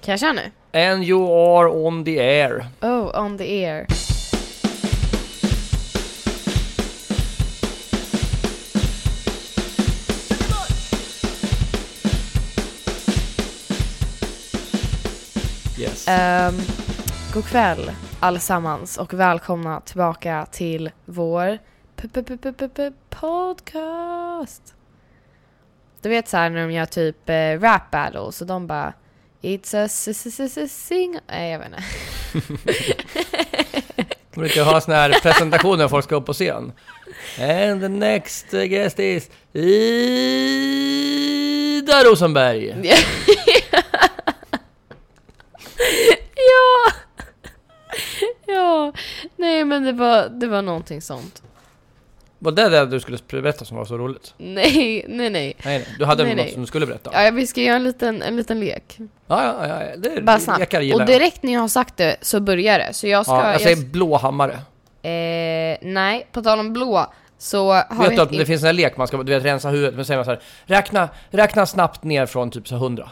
Kan jag köra nu? And you are on the air. Oh, on the air. Yes. Um, god kväll allesammans och välkomna tillbaka till vår p- p- p- p- p- podcast. Du vet så här när de gör typ eh, rap battles och de bara It's a s- s- s- s- sing... Nej, jag vet inte. Man brukar ha såna här presentationer när folk ska upp på scen. And the next guest is Ida Rosenberg. ja! ja, nej men det var, det var någonting sånt. Var det det du skulle berätta som var så roligt? Nej, nej, nej. Nej, nej. Du hade Nej, något nej. som du skulle berätta? Ja, Ja, vi ska göra en liten, en liten lek. ja, ja. ja. Det Bara jag snabbt. kan gilla. Och direkt när jag har sagt det så börjar det. Så jag ska... ja, jag jag- säger blåhammare. eh, nej, på tal om blå så har Vet du att vi... det finns en här lek man ska du vet, rensa huvudet, men säger man så här, räkna, räkna snabbt ner från typ så 100.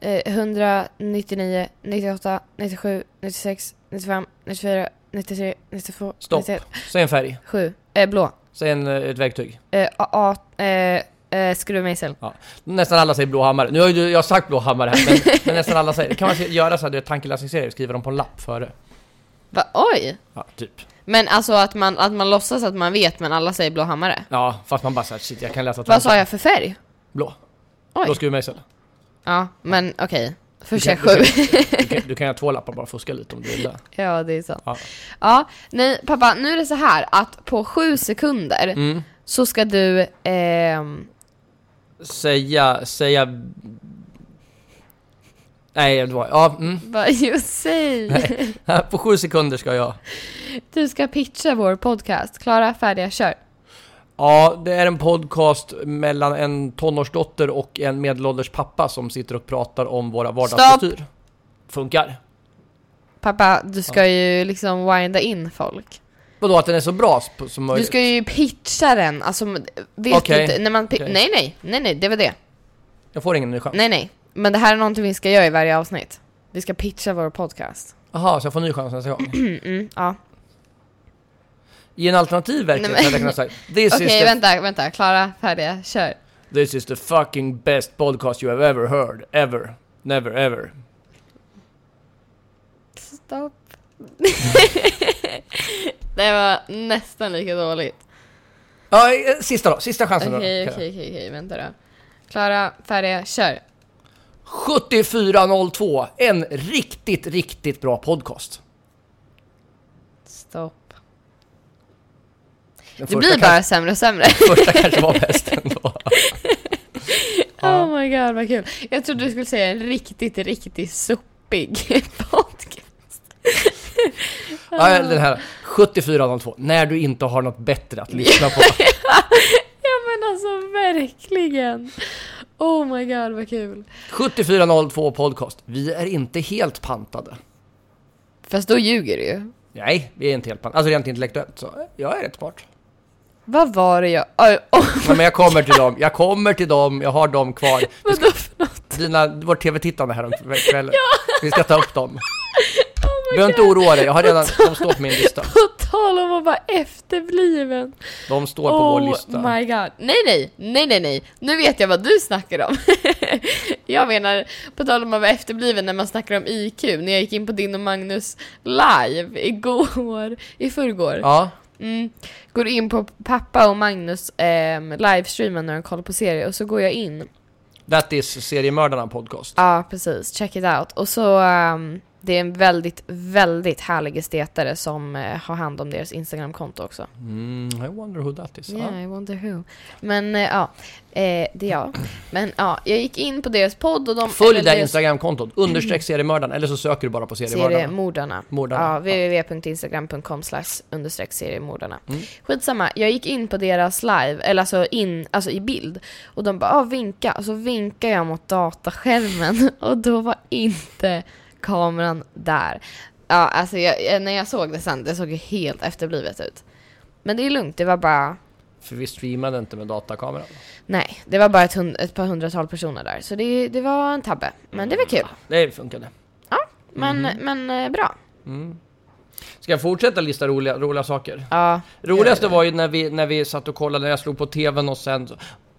eh, 199, 98, 97, 96, 95, 94, 93, 92, Stopp. 91, Säg en färg, 7. Eh, blå. säg en, eh, ett verktyg. Eh, a, a, eh, eh, skruvmejsel. Nästan alla säger blåhammare. Nu har ju jag sagt blåhammare här, men, men nästan alla säger Kan man se- göra så här, du vet, tankeläsningsserier, skriva dem på en lapp före? Va, oj! Ja, typ. Men alltså att man, att man låtsas att man vet men alla säger blåhammare. Ja, fast man bara såhär, shit jag kan läsa Vad tankar. sa jag för färg? Blå. Oj. Blå skruvmejsel. Ja, men okej. Först Du jag kan- sju. Du kan, du kan göra två lappar bara fuska lite om du vill det. Ja, det är sant. Ja. Ja. nej pappa, nu är det så här att på sju sekunder Mm. så ska du... ehm, Säga, säga... Nej, det var... Ja, mm. vad you say? På sju sekunder ska jag. Du ska pitcha vår podcast. Klara, färdiga, kör. Ja, det är en podcast mellan en tonårsdotter och en medelålders pappa som sitter och pratar om våra vardagsbestyr. Funkar. Pappa, du ska ju liksom winda in folk. Vadå, att den är så bra sp- Du som möjligt? ska ju pitcha den, alltså vet Okej. du inte, när man pi- Okej. Nej nej, nej nej, det var det. Jag får ingen ny chans. Nej nej, men det här är någonting vi ska göra i varje avsnitt. Vi ska pitcha vår podcast. Jaha, så jag får ny chans nästa gång? Mm, mm, ja. I en alternativ verklighet Nej, men- hade jag kunnat säga this, Okej, is the, vänta, vänta, Klara, färdiga, kör. this is the fucking best podcast you have ever heard, ever, never ever. Stopp. det var nästan lika dåligt. Ja, eh, sista då, sista chansen Okej, okej, då. okej, okej, vänta då. Klara, färdiga, kör. 7402, en riktigt, riktigt bra podcast. Stopp. Det Den första blir bara kanske, sämre och sämre. Första kanske var bäst ändå. Ja. Oh my god, vad kul. Jag trodde du skulle säga en riktigt, riktigt sopig podcast. Ja, den här 7402, när du inte har något bättre att lyssna på. Ja men alltså verkligen. Oh my god, vad kul. 7402 podcast, vi är inte helt pantade. Fast då ljuger du ju. Nej, vi är inte helt pantade. Alltså rent intellektuellt så, eh, jag är rätt smart. Vad var det jag... Oj, oh, Ja, men jag kommer till dem, jag kommer till dem, jag har dem kvar. vadå för något? Dina, vårt tv-tittande här om kvällen. Vi ska ta upp dem. Oh my Behöver inte god. oroa dig, jag har redan, de står på min lista. På tal om att vara efterbliven. Oh De står på vår lista. my god. Nej, nej, nej, nej, nej. Nu vet jag vad du snackar om. jag menar, på tal om att vara efterbliven när man snackar om IQ, när jag gick in på din och Magnus live igår, i förrgår. Ja, Mm. Går in på pappa och Magnus eh, livestreamen när de kollar på serie och så går jag in. That is seriemördarna podcast. Ja, precis. Check it out. Och så, ehm, det är en väldigt, väldigt härlig estetare som eh, har hand om deras Instagramkonto också. Mm, I wonder who that is. Ja. Yeah, I wonder who. Men eh, ja, eh, det är jag. Men ja, jag gick in på deras podd och de... Följ eller det här deras instagramkontot, understreck seriemördaren, eller så söker du bara på seriemördarna. seriemordarna. Mordarna. Ja, www.instagram.com slash understreck seriemordarna. Mm. Skitsamma, jag gick in på deras live, eller alltså in, alltså i bild. Och de bara ah, vinka, och så vinkar jag mot dataskärmen och då var inte kameran där. Ja, alltså jag, jag- när jag såg det sen, det såg ju helt efterblivet ut. Men det är lugnt, det var bara För vi streamade inte med datakameran. Nej, det var bara ett, hund, ett par hundratal personer där. Så det, det var en tabbe. Men det var kul. Det funkade. Men, men eh, bra. Mm. Ska jag fortsätta lista roliga, roliga saker? Ja. Roligaste var ju när vi, när vi satt och kollade, när jag slog på tvn och sen...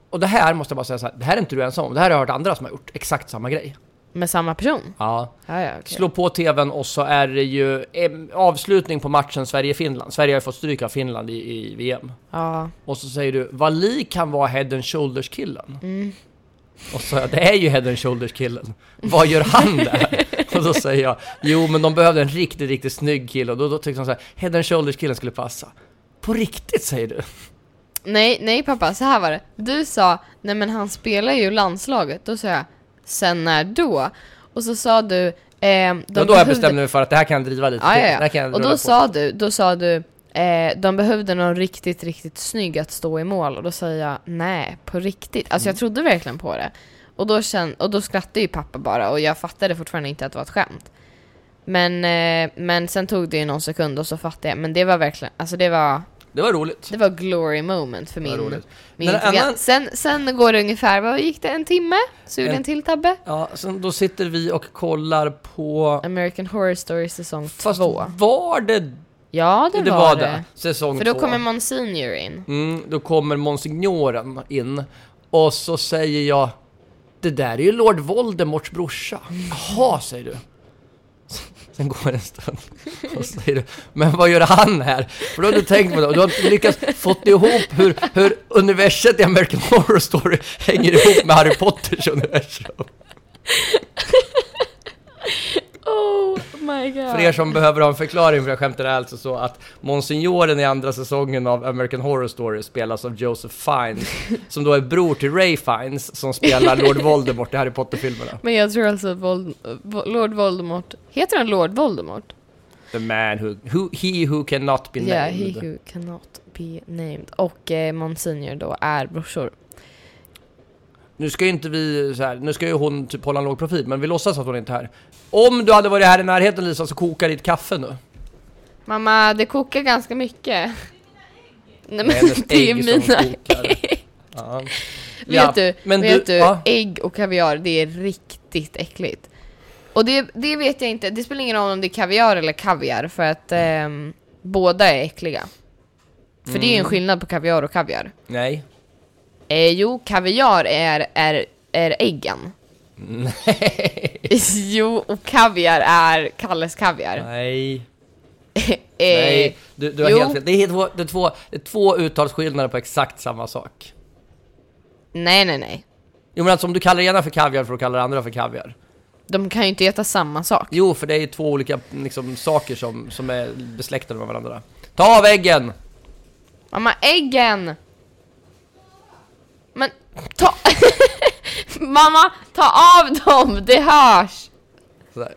Och det här måste jag bara säga så här, det här är inte du ensam om, det här har jag hört andra som har gjort exakt samma grej. Med samma person? Ja. Ja, ja, okej. Slå på tvn och så är det ju eh, avslutning på matchen Sverige-Finland. Sverige har ju fått stryk av Finland i, i VM. Ja. Och så säger du, vad lik han var head and shoulders killen. Och så sa jag, det är ju head and shoulders killen. Vad gör han där? och då säger jag, jo men de behövde en riktigt, riktigt snygg kille. Och då, då tyckte de så här, head and shoulders killen skulle passa. På riktigt säger du? Nej, nej pappa, så här var det. Du sa, nej men han spelar ju landslaget. Då sa jag, sen när då? Och så sa du, ehm, de och då jag bestämde mig för att det här kan jag driva lite Ja, till. ja, Det här kan ja. jag Och rulla då på. sa du, då sa du eh, de behövde någon riktigt, riktigt snygg att stå i mål och då sa jag nej, på riktigt. Alltså jag Mm. trodde verkligen på det. Och då, känn, och då skrattade ju pappa bara och jag fattade fortfarande inte att det var ett skämt. Men, eh, men sen tog det ju någon sekund och så fattade jag, men det var verkligen, alltså det var, Det var roligt. det var glory moment för Det var min, roligt. min Men en program. annan- Sen, sen går det ungefär, vad gick det, en timme? Så gjorde En- jag en till tabbe. Ja, sen då sitter vi och kollar på... American Horror Story säsong Fast två. var det... Ja, det, Det var det. Säsong För då två. kommer Monsignor in. Mm, då kommer monsignoren in och så säger jag Det där är ju Lord Voldemorts brorsa. Jaha, säger du. Sen går det en stund och säger du Men vad gör han här? För då har du tänkt på det och du har inte lyckats fått ihop hur, hur universet i American Horror Story hänger ihop med Harry Potters universum. Oh my god. För er som behöver ha en förklaring för jag skämtar är alltså så att Monsignoren i andra säsongen av American Horror Story spelas av Joseph Fiennes, som då är bror till Ray Fiennes, som spelar Lord Voldemort i Harry Potter-filmerna. Men jag tror alltså att Vold, Vo- Lord Voldemort, heter han Lord Voldemort? The man who, who he who cannot be Ja, named. yeah, he who cannot be named. Och eh, Monsignor då är brorsor. Nu ska ju inte vi så här, nu ska ju hon typ hålla en låg profil, men vi låtsas att hon inte är här. Om du hade varit här i närheten Lisa, så kokar ditt kaffe nu. Mamma, det kokar ganska mycket. Nej Med men hennes det är ägg som mina kokar. Ja. Ja, Vet du, men vet du, ja. ägg och kaviar, det är riktigt äckligt. Och det, det vet jag inte, det spelar ingen roll om det är kaviar eller kaviar för att ehm, båda är äckliga. För det är ju en Mm. skillnad på kaviar och kaviar. Nej. Eh, jo, kaviar är, är, är äggen. Nej. jo, och kaviar är Kalles kaviar. Nej. Eh, Nej, du, du har jo. helt fel. Det är, helt, två- det, är två, det är två uttalsskillnader på exakt samma sak. nej, nej, nej. Jo men alltså om du kallar det ena för kaviar får du kalla det andra för kaviar. De kan ju inte äta samma sak. Jo, för det är ju två olika liksom, saker som, som är besläktade med varandra. Ta av äggen! Mamma, äggen! Men ta... Mamma, ta av dem! Det hörs! Sådär.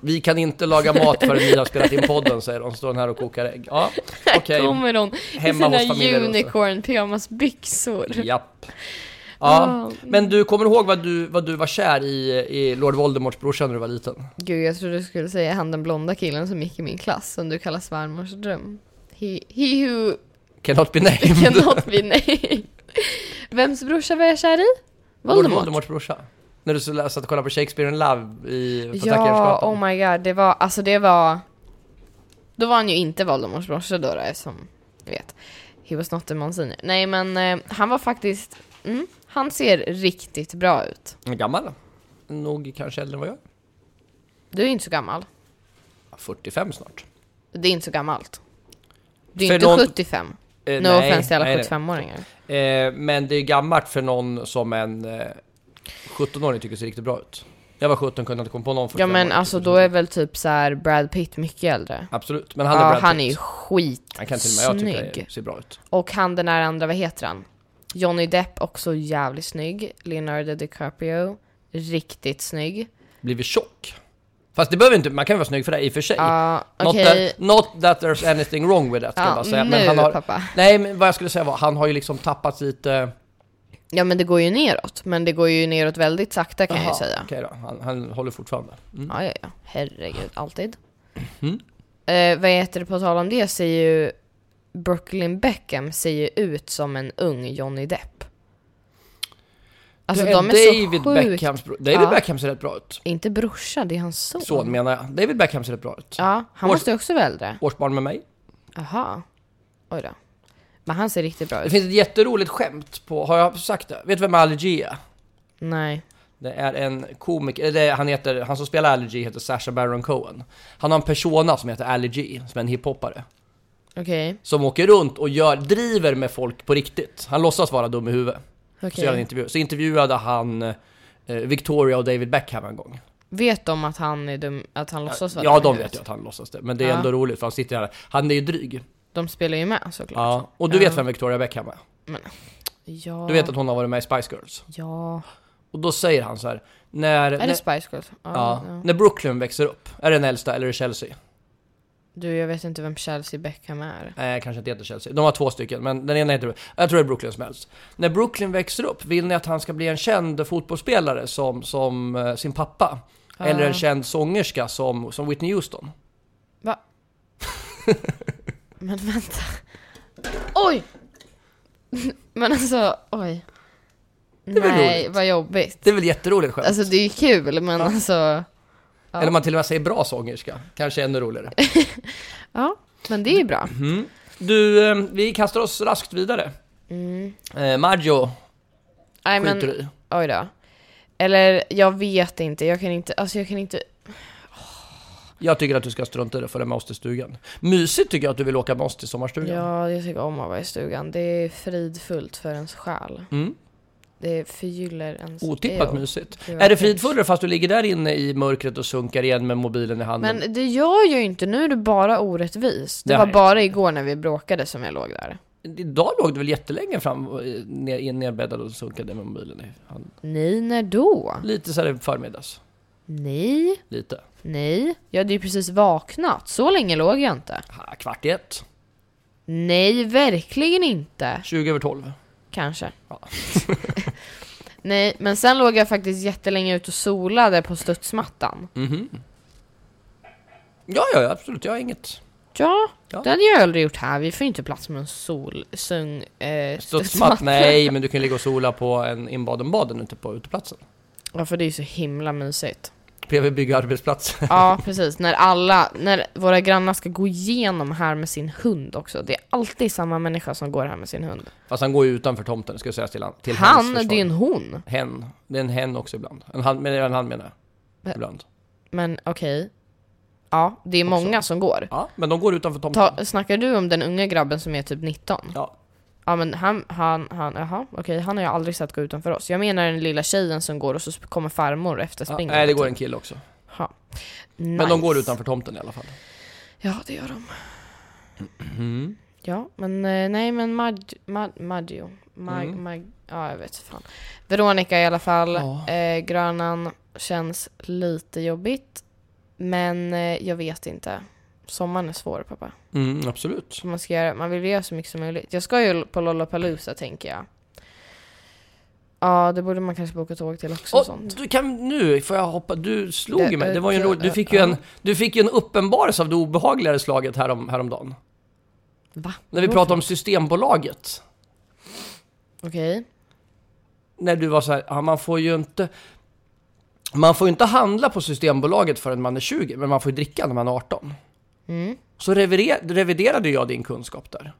Vi kan inte laga mat förrän ni har spelat in podden, säger de. Står den här och kokar ägg. Ja, okej. Här kommer hon i Hemma hos sina familjen också. unicorn pyjamasbyxor. Japp. Ja, Ah. men du kommer ihåg vad du, vad du var kär i, i Lord Voldemorts brorsa när du var liten? Gud, jag trodde du skulle säga han den blonda killen som gick i min klass, som du kallar svärmors dröm. He, he who Cannot be named. cannot be named. Vems brorsa var jag kär i? Lord Voldemot? Voldemorts brorsa. När du så lä- satt och kollade på Shakespeare in Love i på Ja, Tackarjärnsgatan. oh my god, det var, alltså det var... Då var han ju inte Voldemorts brorsa då, då som ni vet. He was not a monsignor. Nej men eh, han var faktiskt, mm, han ser riktigt bra ut. Hon är Gammal. Nog kanske äldre än vad jag är. Du är ju inte så gammal. 45 snart. Det är inte så gammalt. Du är För inte någon- 75. Eh, No offense till alla nej, nej. 75-åringar. Eh, men det är gammalt för någon som en eh, 17-åring tycker ser riktigt bra ut. Jag var 17 kunde inte komma på någon Ja 45-åring men alltså då är väl typ så här Brad Pitt mycket äldre. Absolut, men han är Ja, Brad han är Pitt. ju skitsnygg. Han kan till och med jag tycka ser bra ut. Och han den där andra, vad heter han? Johnny Depp, också jävligt snygg. Leonardo DiCaprio, riktigt snygg. Blivit tjock. Fast det behöver inte, man kan ju vara snygg för det i och för sig. Ja, not, okej. that, not that there's anything wrong with that ska jag Ja, bara säga. nu Men han har, pappa. nej men vad jag skulle säga var, han har ju liksom tappat lite... Ja men det går ju neråt. Men det går ju neråt väldigt sakta kan jag Jaha, ju säga. Okej då, han, han håller fortfarande. Mm. Ja, ja, ja. Herregud, alltid. Mm. Eh, vad heter det, på tal om det så är ju Brooklyn Beckham ser ju ut som en ung Johnny Depp. Alltså Det de är eh, David så sjukt... Beckhams bror. David Ja. Beckham ser rätt bra ut. Inte brorsa, det är hans son. Son menar jag. David Beckham ser rätt bra ut. Ja, han Vår- måste ju också vara äldre. Årsbarn med mig. Aha. Oj då. Men han ser riktigt bra Det ut. finns ett jätteroligt skämt på, har jag sagt det? Vet du vem Allergy är? Nej. Det är en komiker, eller han heter, han som spelar Allergy heter Sasha Baron Cohen. Han har en persona som heter Allergy, som är en hiphoppare. Okej. Som åker runt och gör, driver med folk på riktigt. Han låtsas vara dum i huvudet. Så, Okej. gör han intervju. så intervjuade han eh, Victoria och David Beckham en gång. Vet de att han är dum, att han låtsas vara ja, dum i de huvudet? vet ju att han låtsas det. Men det är Ja. ändå roligt för han sitter här. Han är ju dryg. De spelar ju med såklart. Ja. Och du vet Ja. vem Victoria Beckham är? Ja. Du vet att hon har varit med i Spice Girls? Ja. Och då säger han så här. När, Är när, det Spice Girls? Ja. ja, ja. när Brooklyn växer upp, är det den äldsta eller är det Chelsea? Du, jag vet inte vem Chelsea Beckham är. Nej, kanske inte heter Chelsea. De har två stycken, men den ena heter... Jag tror det är Brooklyn som helst. När Brooklyn växer upp, vill ni att han ska bli en känd fotbollsspelare som, som eh, sin pappa? Ja. Eller en känd sångerska som, som Whitney Houston? Men vänta. Oj! Men alltså, oj. är väl Nej, roligt. vad jobbigt. Det är väl jätteroligt skämt? Alltså det är ju kul, men alltså. ja. Eller om man till och med säger bra sångerska. Kanske ännu roligare. Ja, men det är ju bra. Mm. Du, eh, vi kastar oss raskt vidare. Mm. Eh, Maggio Nej skjuter men, du i. oj då. Eller jag vet inte, jag kan inte, alltså jag kan inte. Jag tycker att du ska strunta i det, för det med oss till stugan. Mysigt tycker jag att du vill åka med oss till sommarstugan. Ja, jag tycker om att vara i stugan. Det är fridfullt för ens själ. Mm. Det förgyller ens... Otippat Ew. mysigt. Gud, vad Är det fint. fridfullare fast du ligger där inne i mörkret och sunkar igen med mobilen i handen? Men det gör jag ju inte, nu är du bara orättvis. Det Nej. var bara igår när vi bråkade som jag låg där. Idag låg du väl jättelänge fram, eh, ner, in- nedbäddad och sunkade med mobilen i handen? Nej, när då? Lite så här i förmiddags. Nej, Lite. nej. Jag hade ju precis vaknat, så länge låg jag inte. Ha, kvart i ett. Nej, verkligen inte. 20 över 12. Kanske. Ja. Nej, men sen låg jag faktiskt jättelänge ute och solade på studsmattan. Mhm. Ja, ja, ja, absolut. Jag har inget. Ja, Ja. det hade jag aldrig gjort här. Vi får ju inte plats med en solsung eh, Studsmatt? Nej, men du kan ligga och sola på en inbaden-baden ute på uteplatsen. Ja, för det är ju så himla mysigt. Bredvid byggarbetsplatsen. Ja, precis. När alla, när våra grannar ska gå igenom här med sin hund också. Det är alltid samma människa som går här med sin hund. Fast han går ju utanför tomten, ska jag säga till, han, till hans Han, försvar. det är ju en hon. Hen. Det är en hen också ibland. En han, men en han menar jag. Va? Ibland. Men okej. Ja, det är Också. många som går. Ja, men de går utanför tomten. Ta, snackar du om den unga grabben som är typ 19? Ja. Ja men han, han, han, jaha okej, han har jag aldrig sett gå utanför oss. Jag menar den lilla tjejen som går och så sp- kommer farmor efter Ja, springen. nej, det går en kille också. Ja. Men de går utanför tomten i alla fall. Ja det gör de. Mm-hmm. Ja men eh, nej men Mag, Mag, Maggio, Mag, Mm. Mag, ja jag vet fan. Veronica i alla fall, Ja. eh, Grönan känns lite jobbigt. Men eh, jag vet inte. Sommaren är svår pappa. Mm, absolut. Så man, ska göra, man vill göra så mycket som möjligt. Jag ska ju på Lollapalooza tänker jag. Ja, det borde man kanske boka tåg till också. Och Och sånt. du kan, nu får jag hoppa, du slog Det- ju mig. Det var ju en det- rolig, du fick ju ja. en, du fick ju en uppenbarelse av det obehagligare slaget härom, häromdagen. Va? När vi pratade om Systembolaget. Okej. När du var så här, ja, man får ju inte, man får ju inte handla på Systembolaget förrän man är 20, men man får ju dricka när man är 18. Mm. Så revider- reviderade jag din kunskap där.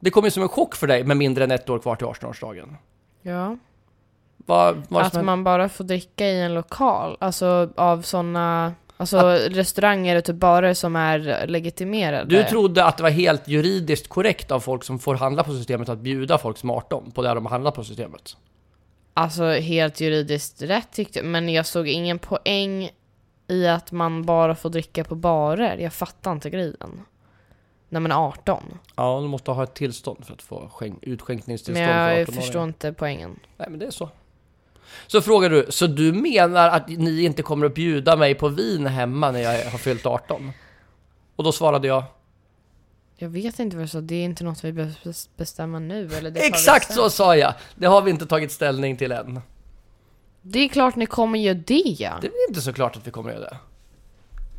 Det kom ju som en chock för dig med mindre än ett år kvar till 18-årsdagen. Ja. Vad vad var det Att som hände? man bara får dricka i en lokal. Alltså av sådana... Alltså restauranger och typ barer som är legitimerade. Du trodde att det var helt juridiskt korrekt av folk som får handla på systemet att bjuda folk som är 18 på det de har handlat på systemet. Alltså helt juridiskt rätt tyckte jag. Men jag såg ingen poäng i att man bara får dricka på barer. Jag fattar inte grejen. När man är 18. Ja, du måste ha ett tillstånd för att få skänk- utskänkningstillstånd Men jag för 18 förstår inte poängen. Nej, men det är så. Så frågar du, så du menar att ni inte kommer att bjuda mig på vin hemma när jag har fyllt 18? Och då svarade jag, Jag vet inte vad jag sa, det är inte något vi behöver bes- bestämma nu. Eller det tar vi exakt sen. så sa jag! Det har vi inte tagit ställning till än. Det är klart ni kommer göra det! Det är väl inte så klart att vi kommer att göra det.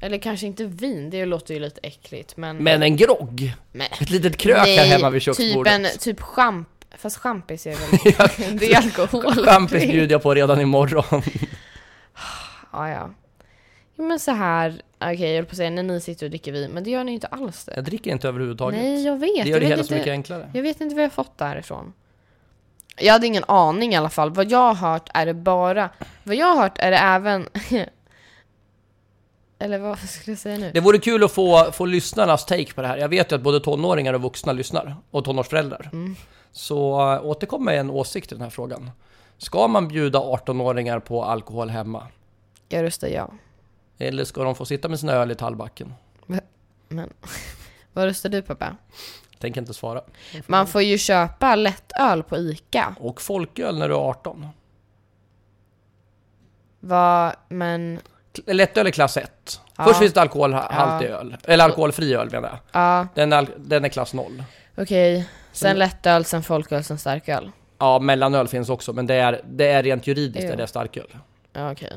Eller kanske inte vin, det låter ju lite äckligt men... Men en grogg! Nej. Ett litet krök här hemma vid köksbordet. typ en, typ champ... Fast champis är väl... det är alkohol. Champis bjuder jag på redan imorgon. Ja, ja. Jo men så här, okej jag höll på att säga när ni sitter och dricker vin, men det gör ni ju inte alls det. Jag dricker inte överhuvudtaget. Nej, jag vet. det jag gör det vet hela inte, så mycket enklare. Jag vet inte vad jag fått därifrån. Jag hade ingen aning i alla fall. Vad jag har hört är det bara... Vad jag har hört är det även... Eller vad skulle jag säga nu? Det vore kul att få, få lyssnarnas take på det här. Jag vet ju att både tonåringar och vuxna lyssnar. Och tonårsföräldrar. Mm. Så äh, återkom med en åsikt i den här frågan. Ska man bjuda 18-åringar på alkohol hemma? Jag röstar ja. Eller ska de få sitta med sina öl i tallbacken? Men vad röstar du pappa? Tänker inte svara. Man får ju köpa lättöl på ICA. Och folköl när du är 18. Vad, men... K- Lättöl är klass 1. Ja. Först finns det alkoholhaltig öl. Eller alkoholfri öl menar jag. Ja, Den är, al- den är klass 0. okej. Mm. Sen lättöl, sen folköl, sen starköl. Ja, mellanöl finns också, men det är, det är rent juridiskt Ja. är det starköl. Ja, okej.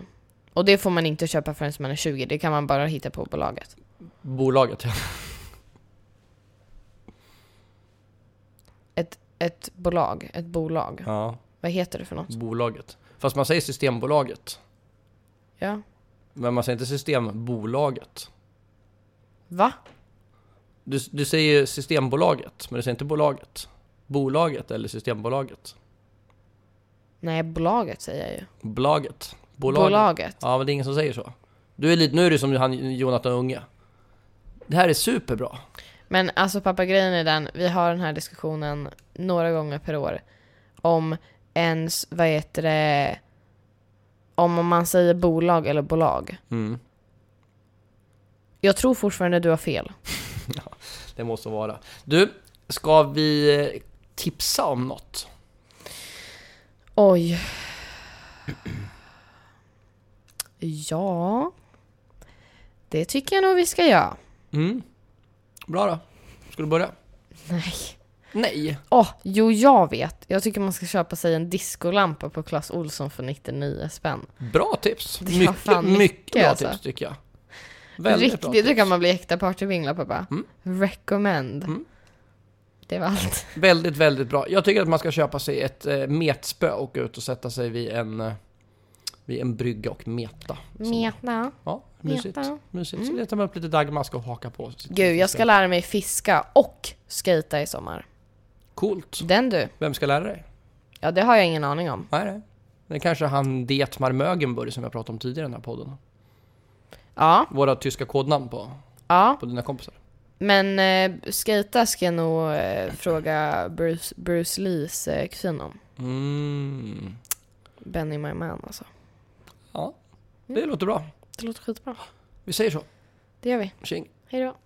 Och det får man inte köpa förrän man är 20. Det kan man bara hitta på bolaget. Bolaget, ja. Ett, ett bolag, ett bolag. ja. Vad heter det för något? Bolaget. Fast man säger Systembolaget. Ja. Men man säger inte Systembolaget. Va? Du, du säger ju Systembolaget, men du säger inte bolaget. Bolaget eller Systembolaget. Nej, bolaget säger jag ju. Bolaget. Bolaget. Bolaget. Ja, men det är ingen som säger så. Du är lite, nu är du som han, Jonathan Unge. Det här är superbra. Men alltså pappa, grejen är den, vi har den här diskussionen några gånger per år om ens, vad heter det, om man säger bolag eller bolag. Mm. Jag tror fortfarande du har fel. Det måste vara. Du, ska vi eh, tipsa om något? Oj. Ja. Det tycker jag nog vi ska göra. Mm. Bra då. Ska du börja? Nej. Nej. Åh, jo jag vet. Jag tycker man ska köpa sig en diskolampa på Clas Olsson för 99 spänn. Bra tips. Det var Mycket, fan mycket, mycket, bra alltså. tips tycker jag. Väldigt bra Riktigt, tips. då kan man bli äkta partyvingla pappa. Mm. Recommend. Mm. Det var allt. Väldigt, väldigt bra. Jag tycker att man ska köpa sig ett eh, metspö och gå ut och sätta sig vid en, eh, vid en brygga och meta. Så- Meta. Ja, mysigt. meta. Mm. mysigt. Så letar man upp lite dagmask och haka på. Så sitter Gud, man jag sig. ska lära mig fiska och skata i sommar. Coolt. Den du. Vem ska lära dig? Ja, det har jag ingen aning om. Nej, nej. Det är kanske han Detmar Mögenburg som jag pratade om tidigare i den här podden. Ja, Våra tyska kodnamn på, ja. på dina kompisar. Men eh, skata ska jag nog eh, fråga Bruce, Bruce Lees eh, kusin om. Mm. Benny My Man alltså. Ja, det låter bra. Det låter skitbra. Vi säger så. Det gör vi. Tjing. Hej då.